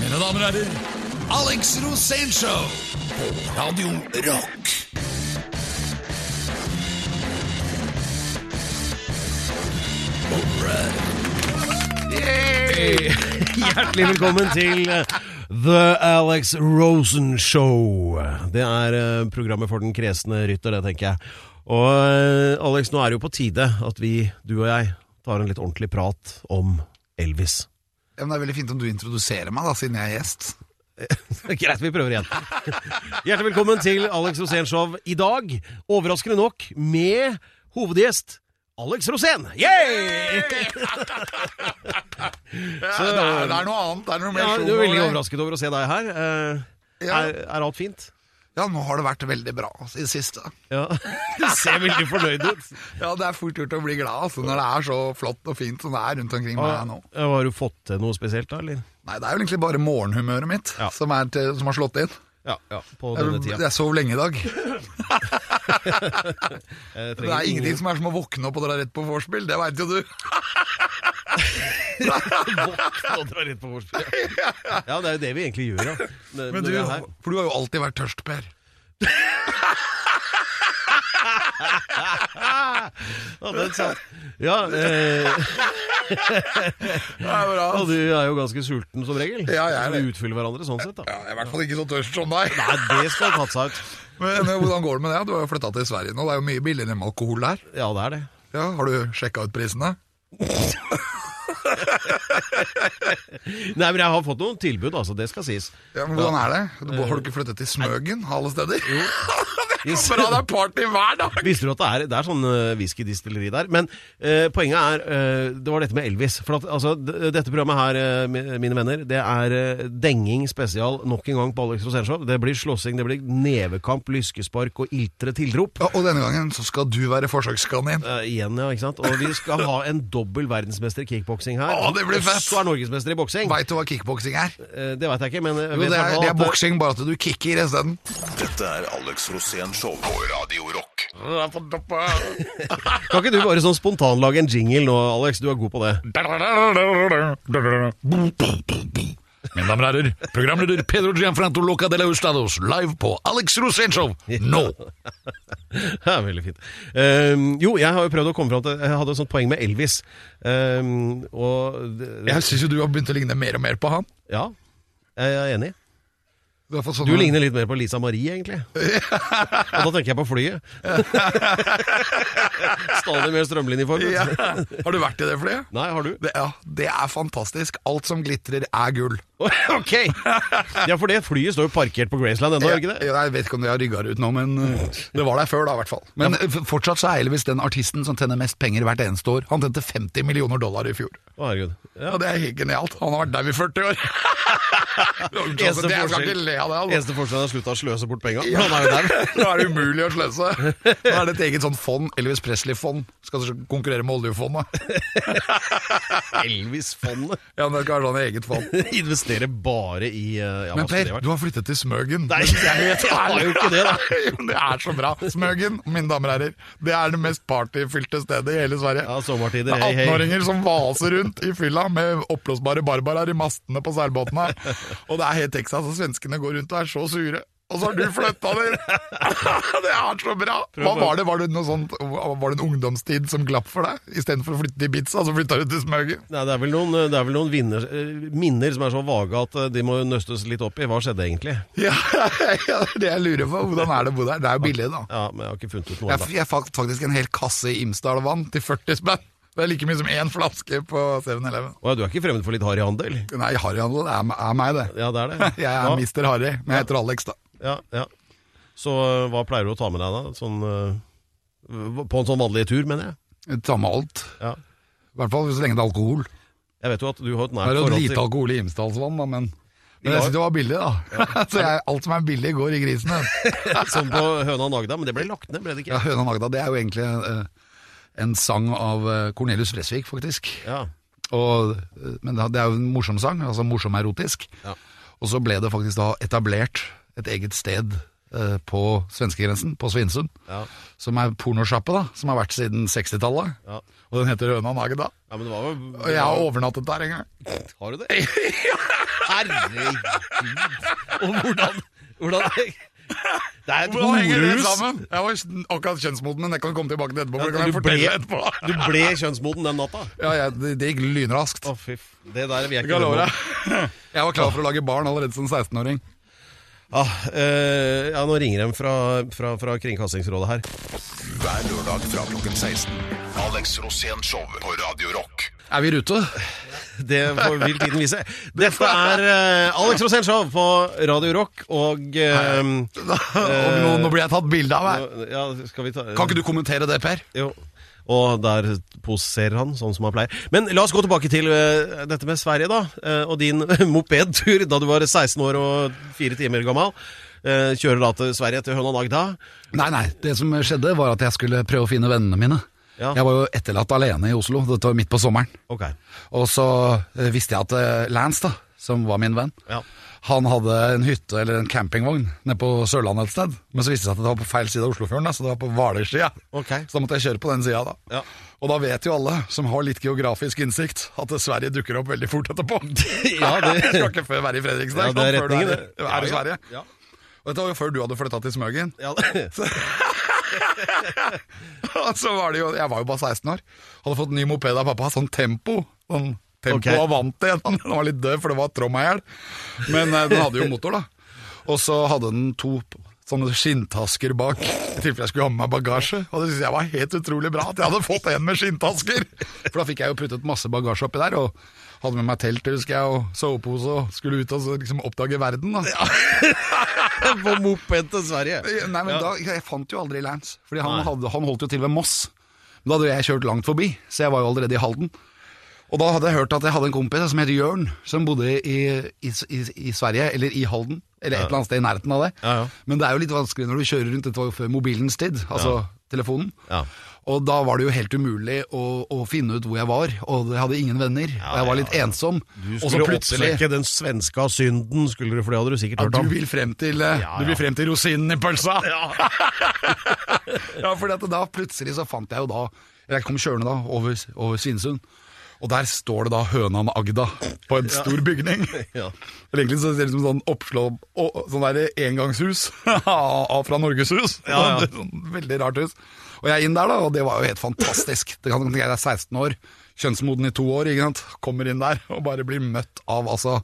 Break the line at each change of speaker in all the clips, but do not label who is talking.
Mine damer og herrer, Alex Rosénshow på Radio Rock.
Hjertelig velkommen til eh, The Alex Rosen Show. Det er eh, programmet for den kresne rytter, det tenker jeg. Og eh, Alex, nå er det jo på tide at vi, du og jeg, tar en litt ordentlig prat om Elvis.
Ja, men det er veldig fint om du introduserer meg, da, siden jeg er gjest.
Greit, vi prøver igjen. Hjertelig velkommen til Alex Rosén Show i dag. Overraskende nok med hovedgjest Alex Rosén. Yay!
Så, det, er, det er noe annet. Det er noe mer
Ja,
show
du er veldig
over det.
overrasket over å se deg her. Eh,
Ja.
Er, er alt fint?
Ja, nå har det vært veldig bra altså, i det siste.
Ja. Du ser veldig fornøyd ut.
Ja, det er fort gjort å bli glad altså, når det er så flott og fint som det er rundt omkring meg nå.
Ja, Har du fått til noe spesielt da, eller?
Nei, det er jo egentlig bare morgenhumøret mitt
Ja.
som, er til, som har slått inn.
Ja, på
Jeg,
denne tida.
jeg sov lenge i dag.
Jeg
Det
trenger
er ingenting som er som å våkne opp og dra rett på vorspiel, det veit jo du.
Nå drar jeg litt på vorspiel. Ja, det er jo det vi egentlig gjør, ja. Når-
Men
når
du,
vi er her.
for du har jo alltid vært tørst, Per.
Ja, den satt. Ja, eh,
Det er bra.
og du er jo ganske sulten som regel.
Ja, jeg er
Så vi utfyller hverandre sånn sett, da.
Ja, jeg er i hvert fall ikke så tørst som deg.
Nei, det skal ha tatt seg ut.
Men eh, hvordan går det med deg? Du har jo flytta til Sverige nå, det er jo mye billigere med alkohol der.
Ja, det er det.
Ja, Har du sjekka ut prisene?
Nei, men jeg har fått noen tilbud, altså. Det skal sies.
Ja, men Hvordan er det? Du, har du ikke flyttet til Smøgen av alle steder? Jo. det er
Yes.
så bra, det er party hver dag!
Visste du at det er, det er sånn eh, whiskydistilleri der? Men eh, poenget er eh, Det var dette med Elvis. For at, altså, d- dette programmet her, eh, mi- mine venner, det er eh, denging spesial nok en gang på Alex Rosénshow. Det blir slåssing, det blir nevekamp, lyskespark og iltre tilrop.
Ja, og denne gangen så skal du være forsøkskanin.
Eh, igjen, ja, ikke sant? Og vi skal ha en dobbel verdensmester i kickboksing her.
Å, det blir fett!
Også er norgesmester i boksing.
Veit du hva kickboksing er?
Eh, det veit jeg ikke, men jeg
Jo,
vet
det
i
er,
hvert fall
det er
at- eh,
boksing, bare at du kicker isteden.
Dette er Alex Rosén Show på Radio Rock.
Kan ikke du bare sånn spontanlage en jingle nå, Alex? Du er god på det.
Mine damer og herrer, programleder Pedro Gianfranto Loca de la Ustados live på Alex Rosenshov nå!
Det er veldig fint. Ehm, jo, jeg har jo prøvd å komme fram til Jeg hadde et sånt poeng med Elvis. Ehm, og det-
Jeg syns jo du har begynt å ligne mer og mer på han.
Ja, jeg er enig.
Du, har fått sånne-
Du ligner litt mer på Lisa Marie, egentlig. Og da tenker jeg på flyet. Stadig mer strømlinjeform.
ja. Har du vært i det flyet?
Nei, har du?
Det, ja, det er fantastisk. Alt som glitrer, er gull.
Ok! Ja, for det flyet står jo parkert på Graceland ennå, gjør
Jeg,
ikke det?
jeg vet ikke om de har rygga det ut nå, men uh, det var der før, da, i hvert fall. Men uh, f- fortsatt så er Elvis den artisten som tjener mest penger hvert eneste år. Han tjente 50 millioner dollar i fjor.
Å, herregud. Ja.
Og det er helt genialt. Han har vært der i 40 år. Unnskyld, altså,
Eneste
det- jeg skal ikke le av det.
forskjell
Altså.
Eneste forskjell er at han slutta å sløse bort penga. Han er jo der.
Nå er det umulig å sløse. Nå er det et eget sånn fond, Elvis Presley-fond. Skal så konkurrere med oljefondet.
Elvis-fondet.
Ja, men Det skal være sånn eget fond.
Investerer bare i eh, ja, hva
Men
skulle det
Per,
vært?
du har flyttet til Smøgen.
Nei,
Men
jeg har jo ikke det, da.
Jo, det er så bra. Smøgen, mine damer og herrer, det er det mest partyfylte stedet i hele Sverige.
Ja, sommertider,
Med
hei, hei.
18-åringer som vaser rundt i fylla med oppblåsbare barbaraer i mastene på seilbåtene. Og det er helt Texas, og svenskene går rundt og er så sure. Og så har du flytta deg! Det er så bra! Hva var det? Var det, noe sånt, var det en ungdomstid som glapp for deg? Istedenfor å flytte til Ibiza, så flytta du til Smøgen.
Nei, det er vel noen, det er vel noen vinner, eh, minner som er så vage at eh, de må jo nøstes litt opp i. Hva skjedde egentlig?
Ja, ja, det jeg lurer på. Hvordan er det å bo der? Det er jo billig, da.
Ja, men Jeg har ikke funnet ut noe
Jeg,
ennå.
jeg fant faktisk en hel kasse i Imsdal-vann til 40 spenn. Det er like mye som én flaske på 7-Eleven.
Å, ja, Du er ikke fremmed for litt harry handel?
Nei, harryhandel er, er meg, det.
Ja, det er det.
Jeg er mister Harry, men jeg heter Alex, da.
Ja, ja. Så eh, hva pleier du å ta med deg, da? Sånn, eh, på en sånn vanlig tur, mener jeg.
Jeg tar med alt.
Ja.
I hvert fall så lenge det er alkohol.
Jeg vet jo at du har et
Det
nært
er jo
forhold
lite
til
alkohol i Imsdalsvann, da, men men
Vi
jeg
har-
synes det var billig, da. Så jeg, alt som er billig, går i grisen. da.
Sånn på Høna og Nagda, men det ble lagt ned, ble det
Ja,
ikke?
Høna Magda, det er jo egentlig eh, en sang av eh, Cornelius Fresvik, faktisk.
Ja.
Og, eh, men det er jo en morsom sang, altså morsom erotisk.
Ja.
Og så ble det faktisk da etablert et eget sted eh, på svenskegrensen, på Svinesund,
Ja.
som er pornosjappe, da, som har vært siden 60-tallet.
Ja.
Og den heter Høna Nagda.
ja, men det var jo
Og jeg har overnattet der en gang.
Har du det? Nei, herregud. Og hvordan, hvordan Det er et
Hvordan henger det
horehus.
sammen? Jeg var akkurat kjønnsmoden, men jeg kan komme tilbake til det etterpå. for det
Ja,
kan
du
jeg fortelle
ble-
etterpå.
Du ble kjønnsmoden den natta.
Ja, jeg, det, det gikk lynraskt.
Å, fy f- Det der vil jeg
Jeg
ikke
kan love
drømme om.
deg. Jeg var klar for å lage barn allerede som 16-åring.
Ah, eh, ja, nå ringer de fra, fra, fra Kringkastingsrådet her.
Hver lørdag fra klokken 16. Alex Rosén Show på Radio Rock.
Er vi i rute?
Det får, vil tiden vise. Dette er eh, Alex Rosén Show på Radio Rock, og eh,
Og nå, nå blir jeg tatt bilde av her.
ja, skal vi ta
Kan ikke du kommentere det, Per?
Jo. Og der poserer han, sånn som han pleier. Men la oss gå tilbake til eh, dette med Sverige, da. eh, og din mopedtur da du var 16 år og 4 timer gammel. Eh, kjører da til Sverige, til Høna Nagda.
Nei, nei. Det som skjedde, var at jeg skulle prøve å finne vennene mine.
Ja.
Jeg var jo etterlatt alene i Oslo. Dette var midt på sommeren.
Ok.
Og så eh, visste jeg at eh, Lance, da, som var min venn,
Ja.
han hadde en hytte eller en campingvogn nede på Sørlandet et sted. Men så viste det seg at det var på feil side av Oslofjorden, da, så det var på Hvaler-sida.
Ok.
Så da måtte jeg kjøre på den sida, da.
Ja.
Og da vet jo alle som har litt geografisk innsikt, at Sverige dukker opp veldig fort etterpå.
Ja, det-
Jeg skal ikke før være i Fredrikstad.
Ja,
ikke sant,
det er
før du
retningen,
er, i- er i
det. Ja, ja.
Sverige.
Ja.
Og dette var jo før du hadde flytta til Smøgen.
Ja,
Og så var det jo, jeg var jo bare 16 år. Hadde fått ny moped av pappa, sånn tempo. Sånn tempo
Ok.
Avante. Den var litt død, for det var trom av hjel. Men eh, den hadde jo motor, da. Og så hadde den to p- sånne skinntasker bak, i tilfelle jeg skulle ha med meg bagasje. Og det syntes jeg var helt utrolig bra, at jeg hadde fått en med skinntasker! For da fikk jeg jo puttet masse bagasje oppi der, og hadde med meg telt, husker jeg, og sovepose, og skulle ut og så liksom oppdage verden, da.
på moped til Sverige.
Nei, men da, Jeg fant jo aldri Lance, Fordi han,
Nei.
hadde, han holdt jo til ved Moss. Men da hadde jo jeg kjørt langt forbi, så jeg var jo allerede i Halden. Og da hadde jeg hørt at jeg hadde en kompis som het Jørn, som bodde i, i, i, i Sverige, eller i Halden. Eller et eller annet sted i nærheten av det.
Ja, ja.
Men det er jo litt vanskelig når du kjører rundt. Dette var jo før mobilens tid, altså telefonen.
Ja.
Og da var det jo helt umulig å, å finne ut hvor jeg var, og jeg hadde ingen venner. og jeg var litt ensom.
Du
og så
skulle
plutselig
oppslekke den svenska synden, skulle du, for det hadde du sikkert
ja,
hørt
du
om.
vil frem til, eh,
Ja,
du
ja.
vil frem til rosinen i pølsa! Ja, for da plutselig så fant jeg jo da Jeg kom kjørende da over, over Svinesund, og der står det da høna med Agda på en stor bygning.
Ja.
Eller egentlig så ser det ut som sånn oppslå... å- Sånn der engangshus av fra Norgeshus.
Ja, ja.
Sånn Veldig rart hus. Og jeg er inn der, da, og det var jo helt fantastisk. Det kan Jeg er 16 år, kjønnsmoden i to år, ikke sant. Kommer inn der og bare blir møtt av altså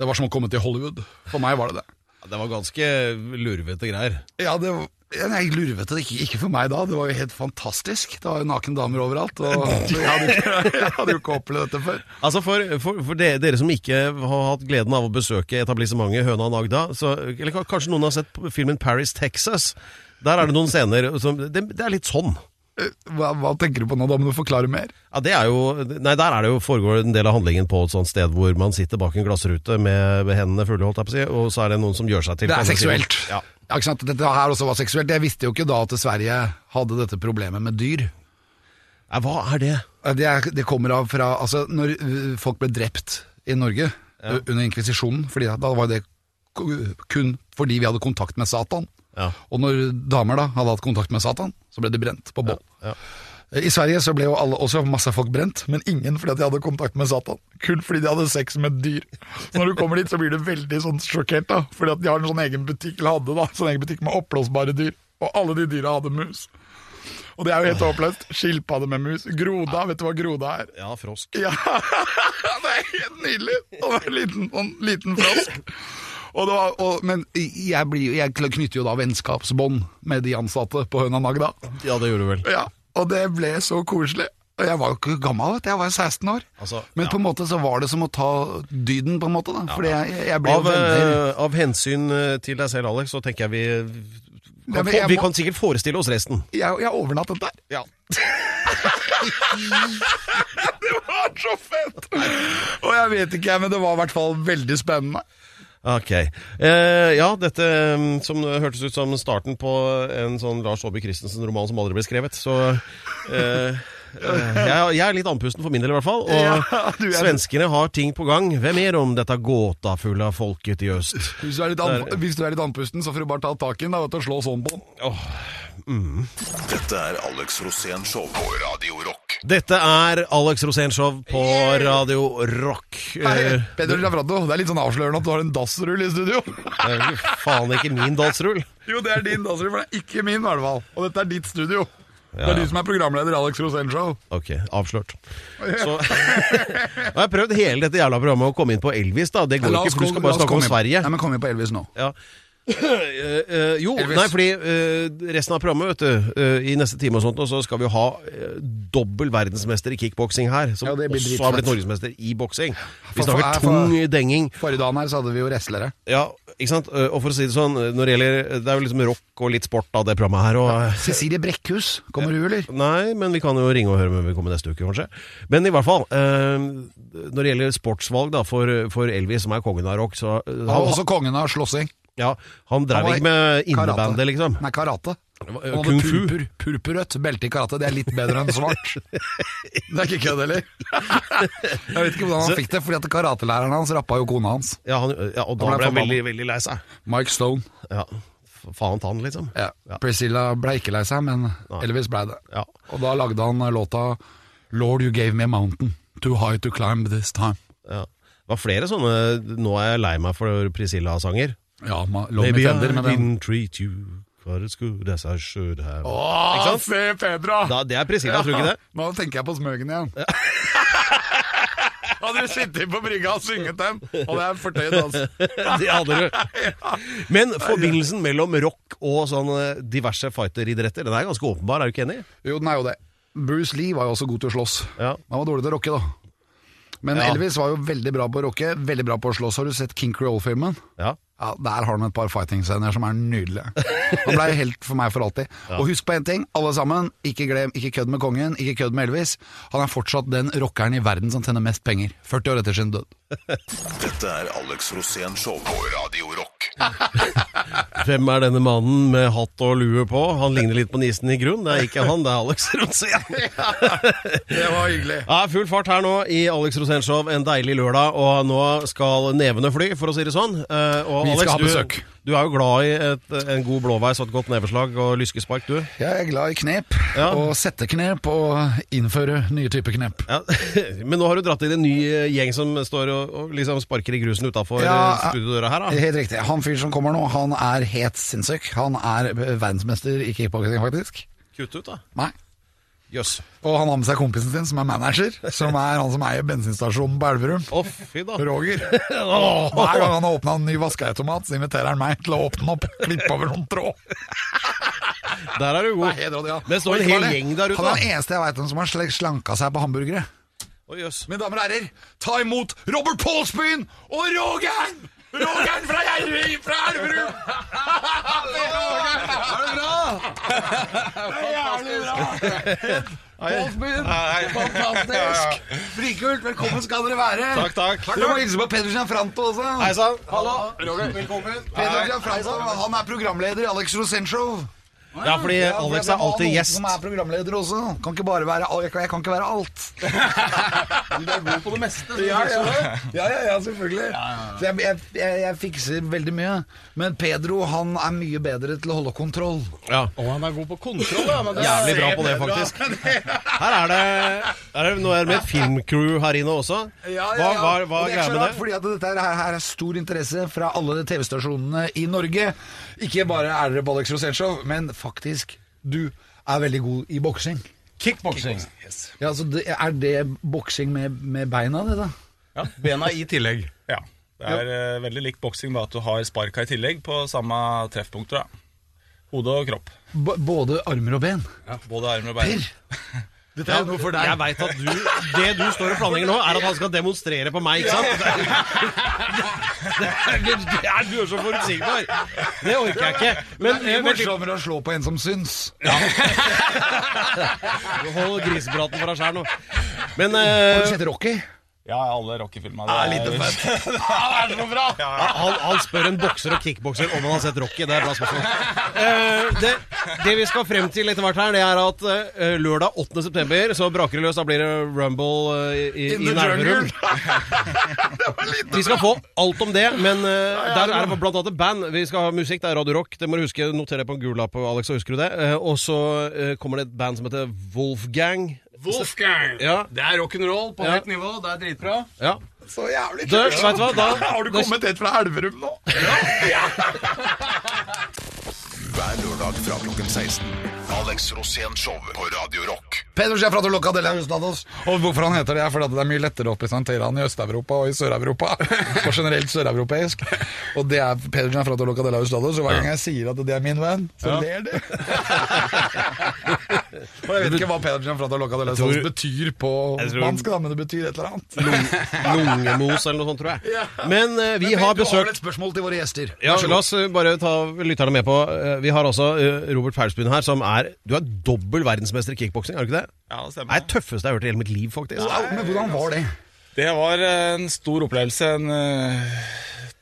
Det var som å komme til Hollywood. For meg var det det.
Det var ganske lurvete greier.
Ja, det var ja, Nei, lurvete. det Ikke, ikke for meg da. Det var jo helt fantastisk. Det var jo naken damer overalt. Og jeg hadde, ikke, jeg hadde jo ikke opplevd dette før.
Altså For, for, for dere, dere som ikke har hatt gleden av å besøke etablissementet Høna og Nagda så, Eller ka- kanskje noen har sett p- filmen Paris, Texas. Der er det noen scener som Det, det er litt sånn.
Eh, Hva, hva tenker du på nå? Da må du forklare mer.
Ja, det er jo, nei, Der er det jo foregår en del av handlingen på et sånt sted hvor man sitter bak en glassrute med, med hendene fulle, holdt jeg på å si, og så er det noen som gjør seg til
Det er
på andre siden.
seksuelt.
Ja.
Ja, ikke sant? Dette her også var seksuelt. Jeg visste jo ikke da at Sverige hadde dette problemet med dyr.
Nei, hva er det?
Eh, Det, er, det kommer av fra Altså, når eh, folk ble drept i Norge eh, under inkvisisjonen, fordi da, da var det ku- kun fordi vi hadde kontakt med Satan.
Ja.
Og når damer da hadde hatt kontakt med Satan, så ble de brent på bål.
Ja.
Eh, I Sverige så ble jo alle, også masse folk brent, men ingen fordi at de hadde kontakt med Satan. Kun fordi de hadde sex med dyr. Så når du kommer dit, så blir du veldig sånn sjokkert, da. Fordi at de har en sånn egen butikk, eller hadde da, sånn egen butikk med oppblåsbare dyr. Og alle de dyra hadde mus. Og det er jo helt håpløst. Skilpadde med mus. Groda, vet du hva groda er?
Ja, frosk.
Ja, det er helt nydelig! Og en liten, en liten frosk. Og det var, og, men jeg, blir, jo- jeg knytter jo da vennskapsbånd med de ansatte på Høna Magda.
Ja, det gjorde du vel.
Ja, og det ble så koselig. Og jeg var jo ikke gammel, vet du. jeg var 16 år.
Altså,
men
ja.
på en måte så var det som å ta dyden, på en måte. da Fordi jeg, jeg ble jo
Av,
venner.
eh, av hensyn eh, til deg selv, Alex, så tenker jeg vi
Nei,
kan,
men
få,
jeg
Vi
må-
kan sikkert forestille oss resten.
Jeg, jeg overnattet der.
Ja.
Det var så fett! Og jeg vet ikke, jeg, men det var i hvert fall veldig spennende.
Ok. Eh, ja, dette mm, som hørtes ut som starten på en sånn Lars Aabye Christensen-roman som aldri ble skrevet, så eh, eh, jeg, jeg er litt andpusten for min del, i hvert fall. Og
Ja, du er-
svenskene har ting på gang. Hvem er om dette gåtafulle folket i øst?
Hvis du er litt, an, hvis du er litt andpusten, så får du bare ta tak i den da, vet du, og slå sånn på den.
Dette er Alex Rosén Show på Radio Rock.
Dette er Alex Rosénshow på Radio Rock.
Hei,
Eh,
Pedro Lavrado, det er litt sånn avslørende at du har en dassrull i studio.
Det er jo eh, faen ikke min dansrull.
Jo, det er din dassrull, for det er ikke min, i hvert fall. Og dette er ditt studio. Det
Ja,
er
ja.
du som er programleder i Alex Rosén Show.
Ok, avslørt. Så, jeg har prøvd hele dette jævla programmet å komme inn på Elvis, da. Det går ikke, for du skal bare snakke om Sverige.
Nei, men kom inn på Elvis nå.
Ja. Eh, eh, jo,
Elvis.
nei, fordi eh, resten av programmet, vet du, eh, i neste time og sånt, og så skal vi jo ha eh, dobbel verdensmester i kickboksing her, som
Ja, det blir
også
dritfett.
har blitt norgesmester i boksing.
For-
Vi snakker
for-
tung denging.
Forrige dagen her så hadde vi jo wrestlere.
Ja, ikke sant? Eh, Og for å si det sånn, når det gjelder Det er jo liksom rock og litt sport av det programmet her, og eh,
Cecilie Brekkhus, kommer hun, eller?
Nei, men vi kan jo ringe og høre om hun vil komme neste uke, kanskje. Men i hvert fall, eh, når det gjelder sportsvalg da, for, for Elvis, som er kongen av rock, så eh,
Han var
han,
også kongen av slåssing.
ja, han drev
var
ikke med
karate.
innebandet, liksom.
Nei, karate.
var- eh,
Han
kung
hadde
fu.
purpur, purpurrødt belte i karate. Det er litt bedre enn svart. Det er ikke kødd heller. Jeg vet ikke hvordan han fikk det, fordi at karatelæreren hans rappa jo kona hans.
Ja, han, ja, og da
Han ble
ble han
forbanna.
veldig, veldig lei seg.
Mike Stone.
Ja, f- faen ta han, liksom.
Ja. Priscilla ble ikke lei seg, men Elvis ble det.
Ja.
Og da lagde han eh, låta 'Lord You Gave Me a Mountain'. Too high to climb this time.
Ja. Det var flere sånne 'nå er jeg lei meg for Priscilla'-sanger.
Ja, man, lå med
Maybe I
fender, men den
didn't treat you quite as good as I should have.
Åh, se Pedra!
Da, det er Priscilla, tror du ikke det?
Nå tenker jeg på Smøgen igjen. Hadde du sittet på brygga og synget den, hadde jeg fortøyd altså.
Det hadde du. Men forbindelsen mellom rock og sånne diverse fighteridretter, den er ganske åpenbar, er du ikke enig?
Jo, den er jo det. Bruce Lee var jo også god til å slåss.
Ja.
Han var dårlig til å rocke, da. Men
Ja.
Elvis var jo veldig bra på å rocke, veldig bra på å slåss. Har du sett King Creole-filmen?
Ja.
Ja, Der har han et par fighting-scener som er nydelige. Han blei helt for meg for alltid. Og husk på én ting, alle sammen. Ikke glem, ikke kødd med kongen, ikke kødd med Elvis. Han er fortsatt den rockeren i verden som tjener mest penger. 40 år etter sin død.
Dette er Alex Rosén Show på Radio Rock.
Hvem er denne mannen med hatt og lue på? Han ligner litt på nissen i grunn. Det er ikke han, det er Alex Rosén.
Det var hyggelig.
Ja, full fart her nå i Alex Rosén Show en deilig lørdag, og nå skal nevene fly, for å si det sånn. Eh, og
Vi skal ha
Alex,
besøk.
du, du er jo glad i et, en god blåveis og et godt neveslag og lyskespark, du.
Jeg er glad i knep,
Ja.
og sette knep, og innføre nye typer knep.
Ja, men nå har du dratt inn en ny eh, gjeng som står og, og liksom sparker i grusen utafor eh,
Ja, Eh.
studiodøra her, da.
Helt riktig. Han fyren som kommer nå, han er helt sinnssyk. Han er verdensmester i kickboksing, faktisk.
Kutt ut, da.
Nei.
Jøss.
Og han har med seg kompisen sin, som er manager, som er han som eier bensinstasjonen på Elverum.
Å, fy da.
Roger.
Åh.
Hver gang han har åpna en ny vaskeautomat, så inviterer han meg til å åpne den opp. Klippe over noen tråd.
Der er du
Det
god.
er helt rådig, ja.
Det står
Og
en
ikke
hel
bare det.
gjeng der ute,
Han er
da.
den eneste jeg veit om som har sl- slanka seg på hamburgere.
Å, jøss.
Mine damer og herrer, ta imot Robert Pålsbyen og Roger'n! Roger'n fra Gjerrig, fra Elverum! Er det bra? Det er jævlig bra! Pålsbyen, fantastisk! Frikult, velkommen skal dere være.
Takk, takk.
Dere må hilse på Peder Gianfranto også.
Hei sann.
Hallo, Roger. Velkommen. Peder Gianfranto, han er programleder i Alex Rosén Show.
Ja, fordi
Ja, for
Alex
jeg
er
må ha
alltid
noen
gjest.
Som er programleder også. Kan ikke bare være al- Jeg kan ikke være alt.
Du er god på det meste. så
Ja,
det er
ja,
sånn.
ja, ja, ja selvfølgelig. Så jeg, jeg, jeg, jeg fikser veldig mye. Men Pedro han er mye bedre til å holde kontroll.
Ja.
Å, han er god på kontroll, ja. Men det
Jævlig bra på det, faktisk. Her er det, her er det Nå er det med et filmcrew her inne også. Hva, hva, hva
Og det er
er
ikke
greia
så rart,
med det?
fordi at dette her, her er stor interesse fra alle TV-stasjonene i Norge. Ikke bare er dere på Alex Rosenshov, men faktisk, du er veldig god i boksing.
Kickboksing.
Ja, altså, det- er det boksing med, med beina, det, da?
Ja, bena i tillegg. Ja. Det er eh, veldig likt boksing, bare at du har sparka i tillegg på samme treffpunkter. da. Hode og kropp.
B både armer og ben.
Både armer og
Per!
bein.
Dette er jo noe for deg.
Jeg veit at du Det du står og planlegger nå, er at han skal demonstrere på meg, ikke sant? Det er- det er- Du er så forutsigbar. Det orker jeg ikke. Men eh,
det er
vent
mye
litt.
morsommere å slå på en som syns.
hold grisepraten for deg sjæl nå. Men
Har du
eh,
sett Rocky?
Ja, alle rockefilmer. Det er litt fett.
han, han spør en bokser og kickbokser om han har sett Rocky. Det er et bra spørsmål. Eh, det, det vi skal frem til etter hvert her, det er at eh, lørdag 8. september så braker det løs. Da blir det Rumble eh, i,
In
i
the
Nærøyrum. Vi skal få alt om det, men eh, der er det blant annet et band. Vi skal ha musikk, det er Radio Rock. Det må du huske. Noter det på en gul lapp, Alex, så husker du det. Eh, og så eh, kommer det et band som heter Wolfgang.
Wolfgang!
Ja.
Det er rock'n'roll på
Ja.
høyt nivå. Det er dritbra.
Ja.
Så jævlig
Du,
kult.
vet du hva, da-
Har du
da-
kommet helt fra Elverum nå?
Hver lørdag fra klokken 16. Alex Rosén-show på Radio Rock.
Pedro sier fra til Loca de la Estados. Og hvorfor han heter det, er fordi at det er mye lettere å presentere han i Øst-Europa og i Sør-Europa. Og generelt søreuropeisk. Og det er Pedro sier fra til Loca de la Estados, og hver gang jeg sier at det er min venn, så ler de. og jeg vet ikke hva Pedro sier fra til Loca de la Estados
tror-
betyr på
Jeg tror-
spansk, da, men det betyr et eller annet.
Lungemos eller noe sånt, tror jeg. Men eh, vi
Men
har
du har vel
besøk
et spørsmål til våre gjester.
ja, La oss eh, bare ta lytterne med på eh, Vi har altså eh, Robert Paulsbyen her, som er Du er dobbel verdensmester i kickboksing, er du ikke det?
Ja, det
Det
stemmer.
er det tøffeste jeg har hørt i hele mitt liv, faktisk.
Au, Men hvordan var det?
Det var eh, en stor opplevelse, en eh,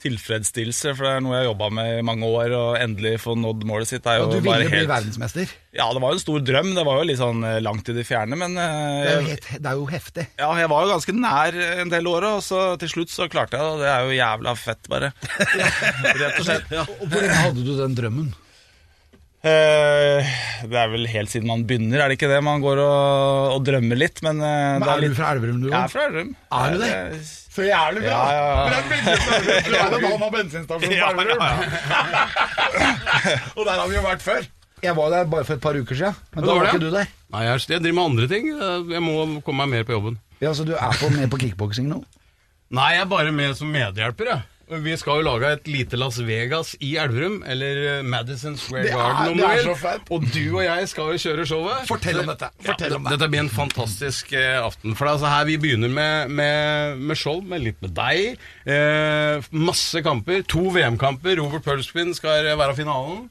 tilfredsstillelse, for det er noe jeg har jobba med i mange år, og endelig få nådd målet sitt er jo
Du ville
bare
bli
helt
verdensmester.
Ja, det var jo en stor drøm, det var jo litt sånn eh, langt i det fjerne, men eh,
Det er jo,
jeg,
helt, det er jo heftig.
ja, jeg var jo ganske nær eh, en del år, og så til slutt så klarte jeg det, og det er jo jævla fett, bare. Rett og slett.
Og hvor lenge hadde du den drømmen?
Eh, Det er vel helt siden man begynner, er det ikke det? Man går og, og drømmer litt, men, eh,
Men
det
er
er
du
litt
fra Elverum, du
Jeg er fra Elverum.
Er du det? eh, Så jævlig
Ja,
bra!
ja, ja.
Du er jo en mann av bensinstasjon på Elverum. Og der har vi jo vært før. Jeg var der bare for et par uker siden, men
Ja,
da
det var
var
det.
ikke du der.
Nei, jeg, er- jeg driver med andre ting. Jeg må komme meg mer på jobben.
Ja, Så du er på, med på kickboksing nå?
Nei, jeg er bare med som medhjelper, jeg. Og Vi skal jo lage et lite Las Vegas i Elverum, eller eh, Madison Square
Det er-
Garden om
det
du
er
vil.
så fett.
Og du og jeg skal jo kjøre showet.
Fortell om dette. Fortell
det-
om det.
Dette blir en fantastisk eh, aften. For det er altså her vi begynner med, med, med show, med litt med deg. Eh, masse kamper. To VM-kamper. Robert Pulsquin skal eh, være finalen.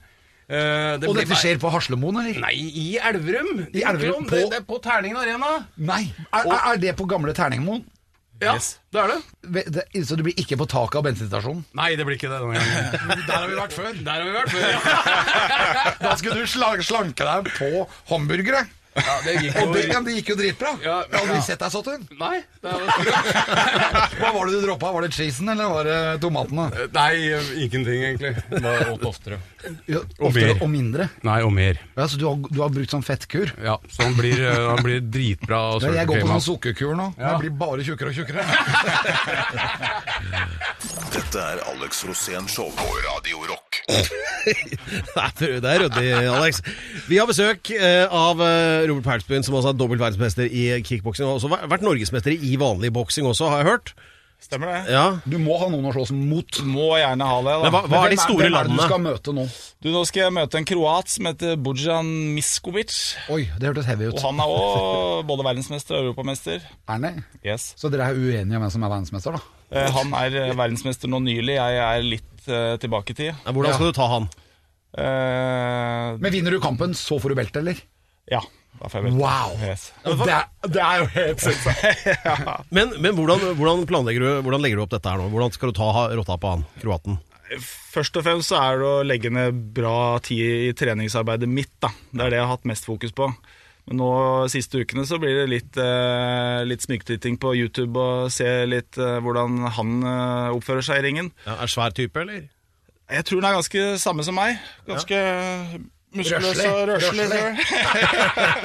Eh, det
Og
blir
dette
bare-
skjer på Haslemoen, eller?
Nei, i Elverum.
I Elverum,
Det,
på-
det er på Terningen Arena.
Nei. Er, er- er det på gamle Terningmoen?
Ja,
Yes.
det er det.
Ve- det- Så du blir ikke på taket av bensinstasjonen?
Nei, det blir ikke det denne gangen. Der har vi vært før. Der har vi vært før, ja.
Da skulle du sla- slanke deg på hamburgere.
ja det gikk
Og det,
jo...
ja, det gikk jo dritbra.
Ja,
Jeg har
ja.
aldri sett deg sånn. så tynn.
Nei, det var...
Hva var det du droppa? Var det cheesen, eller var det tomatene?
Nei, ingenting egentlig. Det var åt oftere.
Ja,
Og
oftere
mer.
og mindre.
Nei, og mer.
Ja, så du har, du har brukt sånn fettkur?
Ja, så han blir, eh, han blir dritbra. og
Ja, jeg går på
sultekrema.
sånn sukkerkur nå.
Ja.
Jeg blir bare tjukkere og tjukkere.
Dette er Alex Rosén-show på Radio Rock.
Det er- det er ryddig, Alex. Vi har besøk eh, av eh, Robert Paulsbyen, som også er dobbelt verdensmester i kickboksing. Og også væ- vært norgesmester i vanlig boksing også, har jeg hørt.
Stemmer det.
Ja.
Du må ha noen å slåss mot.
Må gjerne ha det, da.
Men hva, hva er de
Hvem
store
hvem er det du
landene?
skal møte nå?
Du, Nå skal jeg møte en kroat som heter Bojan Miskovic.
Oi, det hørtes heavy
Og
ut.
han er òg både verdensmester og europamester.
Erne,
Yes.
så dere er uenige om hvem som er verdensmester, da?
Eh, Han er eh, verdensmester nå nylig, jeg er litt eh, tilbake i tid.
Ja, Hvordan skal du ta han?
Eh,
Men vinner du kampen, så får du belte, eller?
ja, da får jeg vel.
Wow!
Yes.
Og Det er, det er jo helt sinnssykt.
Men, men hvordan, hvordan planlegger du Hvordan legger du opp dette her nå? Hvordan skal du ta ha- rotta på han, kroaten?
Først og fremst så er det å legge ned bra tid i treningsarbeidet mitt. da. Det er det jeg har hatt mest fokus på. Men nå siste ukene så blir det litt, eh, litt sniktyting på YouTube og se litt eh, hvordan han eh, oppfører seg i ringen.
Ja, er svær type, eller?
Jeg tror den er ganske samme som meg. Ganske muskuløs og røslig.
Røslig.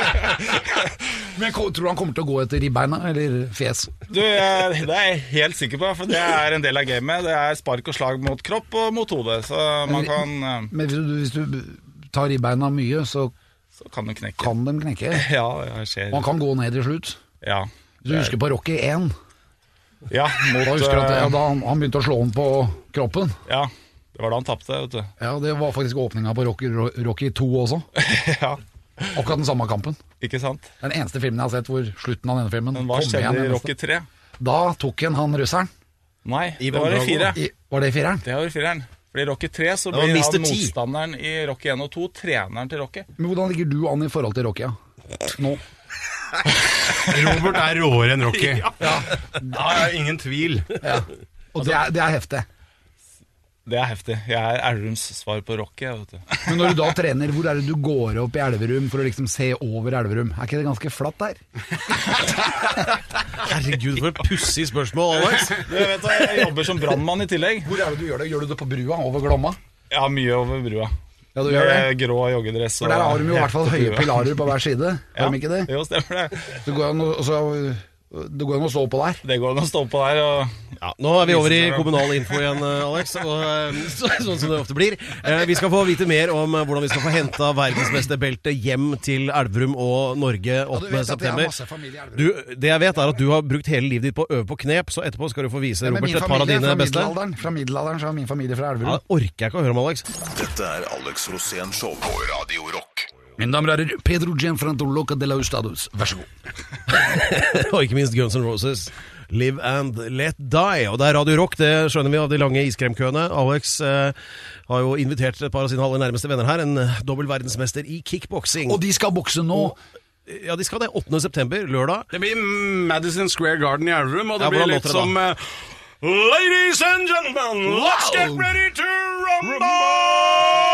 Men ko- tror du han kommer til å gå etter ribbeina, eller fjes?
Du, jeg, det er jeg helt sikker på, for det er en del av gamet. Det er spark og slag mot kropp og mot hode, så man kan, eh,
Men hvis du, hvis du tar ribbeina mye, så
så kan du knekke.
kan de knekke.
Ja, det skjer.
Og han kan gå ned til slutt.
Ja.
Hvis du husker på Rocky 1,
Ja, mot,
da husker du at
eh,
ja, da han, han begynte å slå han på kroppen.
Ja, det var da han tapte, vet du.
Ja, det var faktisk åpninga på Rocky, Rocky 2 også.
ja,
Akkurat den samme kampen.
ikke sant?
Den eneste filmen jeg har sett hvor slutten av denne filmen
Men hva
kom
skjedde
igjen.
i
i
Rocky
neste.
3?
Da tok han han russeren.
Nei, det
Ivan
var i 4.
Drago.
I, var det i fireren?
Det var i 4-eren. For i Rocky 3 så
Det var
blir
Mr.
han
T.
motstanderen i Rocky 1 og 2 treneren til Rocky.
Men hvordan ligger du an i forhold til Rocky? Ja? Nå.
Robert er råere enn Rocky. Ja. Da er ingen tvil.
Og det er, det er heftig.
Det er heftig. Jeg er Elverums svar på Rocky, jeg, vet du.
Men når du da trener, hvor er det du går opp i Elverum for å liksom se over Elverum? Er ikke det ganske flatt der?
Herregud, for et pussig spørsmål, Alex.
Du vet hva, Jeg jobber som brannmann i tillegg.
Hvor er det du gjør det? Gjør du det på brua over Glomma?
Jeg har mye over brua.
Ja, Ja, du gjør det.
Med grå joggedress.
For der har de jo i hvert fall høye
hette-tue.
pilarer på hver side,
Ja.
har de ikke det?
Jo, stemmer det.
Det går an å- og så- det går an å stå på der.
Det går an å stå på der. Og
Ja, nå er vi over i kommunal info igjen, eh, Alex. Og, eh, så, sånn som det ofte blir. Eh, Vi skal få vite mer om eh, hvordan vi skal få henta verdensmesterbeltet hjem til Elverum og Norge
Ja, du vet
8.
at jeg har masse
september.
familie i Elverum.
Du, det jeg vet er at du har brukt hele livet ditt på å øve på knep, så etterpå skal du få vise
Ja, men
Robert
min
et par av
familie
dine
er fra
beste.
middelalderen, fra middelalderen så er min familie fra Elverum.
Ja, det orker jeg ikke å høre om, Alex.
Dette er Alex Rosén Show på Radio Rock.
Mine damer og herrer, Pedro Gianfrantoloca de la Ustados, vær så god.
Og ikke minst Guns N' Roses. Live and let die. Og det er Radio Rock, det skjønner vi av de lange iskremkøene. Alex eh, har jo invitert et par av sine aller nærmeste venner her. En eh, dobbel verdensmester i kickboksing.
Og de skal bokse nå!
Ja, de skal det. 8. september, lørdag.
Det blir Madison Square Garden i Elverum, og det
Ja,
blir
hvordan
litt
låter det da?
som eh, Ladies and gentlemen, let's get ready to rumble!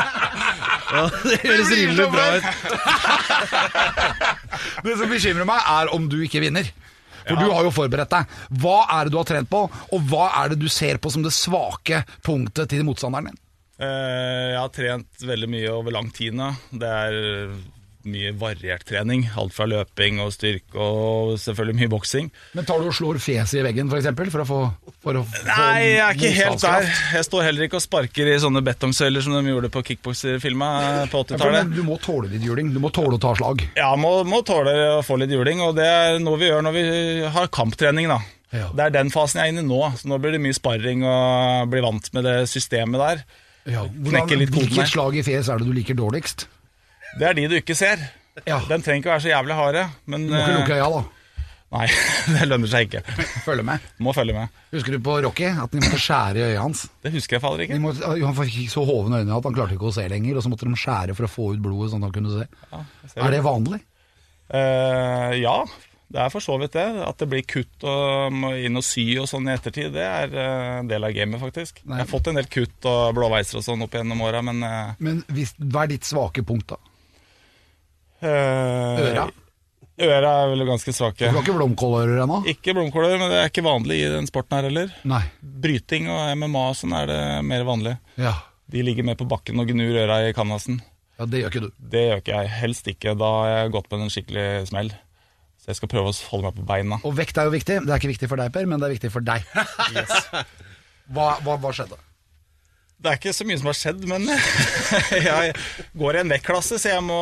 Det høres rimelig bra ut.
Det som bekymrer meg, er om du ikke vinner. For du har jo forberedt deg. Hva er det du har trent på, og hva er det du ser på som det svake punktet til motstanderen din?
eh, jeg har trent veldig mye over lang tid nå. Det er mye variert trening. Alt fra løping og styrke og selvfølgelig mye boksing.
Men tar du og slår fjeset i veggen, f.eks., for å få for å få
Nei, jeg er ikke helt der.
motstandskraft?
Jeg står heller ikke og sparker i sånne betongsøyler som de gjorde på kickbokserfilma eh, på
Ja, for
80-tallet.
Du må tåle litt juling. Du må tåle å ta slag.
Ja, må, må tåle å få litt juling, og det er noe vi gjør når vi har kamptrening, da.
Ja.
Det er den fasen jeg er inne i nå, så nå blir det mye sparring og bli vant med det systemet der.
Hvordan-
Knekke litt koden her.
Hvilket slag i fjes er det du liker dårligst?
Det er de du ikke ser.
Ja.
Den trenger ikke være så jævlig harde, men
Du må ikke
eh,
lukke øya, da.
Nei, det lønner seg ikke.
Følge med.
Må følge med.
Husker du på Rocky? At de måtte skjære i øya hans.
Det husker jeg faller
De
ikke.
måtte, han fikk så hovne øyne at han klarte ikke å se lenger, og så måtte de skjære for å få ut blodet sånn at han kunne se. er det vanlig?
Eh, ja, det er for så vidt det. At det blir kutt og må inn og sy og sånn i ettertid, det er eh, en del av gamet, faktisk.
Nei.
Jeg har fått en del kutt og blåveiser og sånn opp gjennom åra, men eh,
Men hvis, hva er ditt svake punkt, da?
eh,
Øra?
Øra er vel ganske
Du
svake.
har ikke blomkålører ennå?
Ikke blomkåler, men det er ikke vanlig i den sporten her heller.
Nei.
Bryting og MMA og sånn er det mer vanlig.
Ja.
De ligger mer på bakken og gnur øra i canvasen.
ja, det gjør ikke du.
Det gjør ikke jeg. Helst ikke. Da har jeg gått med en skikkelig smell. Så jeg skal prøve å holde meg på beina.
Og vekt er jo viktig. Det er ikke viktig for deg, Per, men det er viktig for deg. Hva, hva, hva skjedde?
Det er ikke så mye som har skjedd, men jeg går i en vektklasse, så jeg må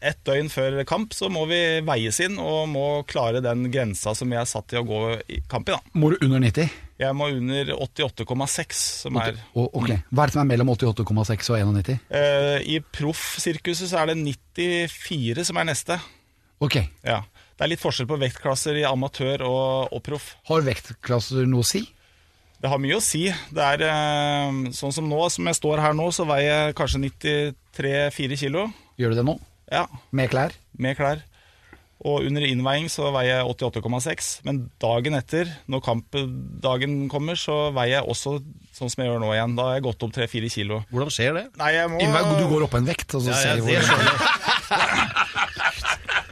ett døgn før kamp så må vi veies inn og må klare den grensa som jeg er satt til å gå i kamp i. da.
Må du under 90?
Jeg må under 88,6, som er
Og, ok. Hva er det som er mellom 88,6 og 91?
eh, I proffsirkuset så er det 94 som er neste.
Ok.
Ja. Det er litt forskjell på vektklasser i amatør og, og proff.
Har vektklasser noe å si?
Det har mye å si. Det er eh, sånn som nå, som jeg står her nå, så veier jeg kanskje 93-4 kilo.
Gjør du det nå?
Ja,
Med klær?
med klær. Og under innveiing så veier jeg 88,6, men dagen etter, når kampdagen kommer, så veier jeg også sånn som jeg gjør nå igjen. Da har jeg gått opp 3-4 kilo.
Hvordan skjer det?
Nei, jeg må...
Innvei, du går opp en vekt, og så ser vi hvor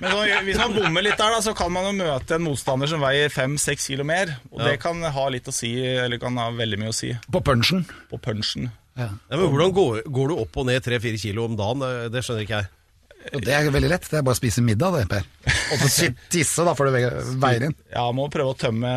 Men så, hvis man bommer litt der, da, så kan man jo møte en motstander som veier 5-6 kilo mer. Og det kan ha litt å si, eller kan ha veldig mye å si,
På punchen.
på punchen.
Nei, men hvordan går, går du opp og ned 3-4 kilo om dagen? Det, det skjønner ikke jeg.
Jo, det er veldig lett. Det er bare å spise middag, det, Per. Og så tisse, da, for det ve- veier inn.
Ja, må prøve å tømme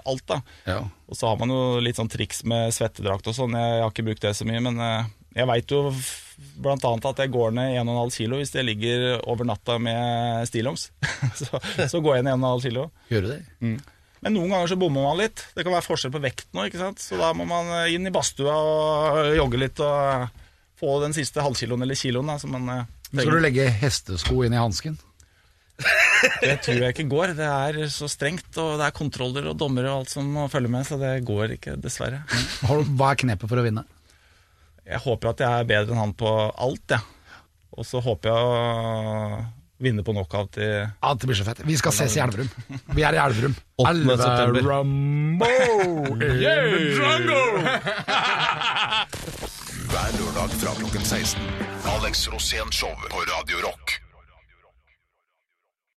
alt, da.
Ja.
Og så har man jo litt sånn triks med svettedrakt og sånn. Jeg, jeg har ikke brukt det så mye, men eh, jeg veit jo f- blant annet at jeg går ned 1,5 kilo hvis jeg ligger over natta med stillongs. så, så går jeg ned 1,5 kilo.
Gjør du det?
Men noen ganger så bommer man litt. Det kan være forskjell på vekt nå, ikke sant. Så da må man eh, inn i badstua og jogge litt og eh, få den siste halvkiloen eller kiloen da, som man eh,
Skal du
trenger.
legge hestesko inn i hansken?
Det tror jeg ikke går. Det er så strengt, og det er kontroller og dommere og alt som må følge med, så det går ikke, dessverre.
Har du- Hva er knepet for å vinne?
Jeg håper at jeg er bedre enn han på alt, jeg. Og så håper jeg å vinne på knockout i
Ja, det blir så fett. Vi skal ses i Elverum. Vi er i Elverum.
8. september.
Hver lørdag fra klokken 16. Alex Rosén Show på Radio Rock.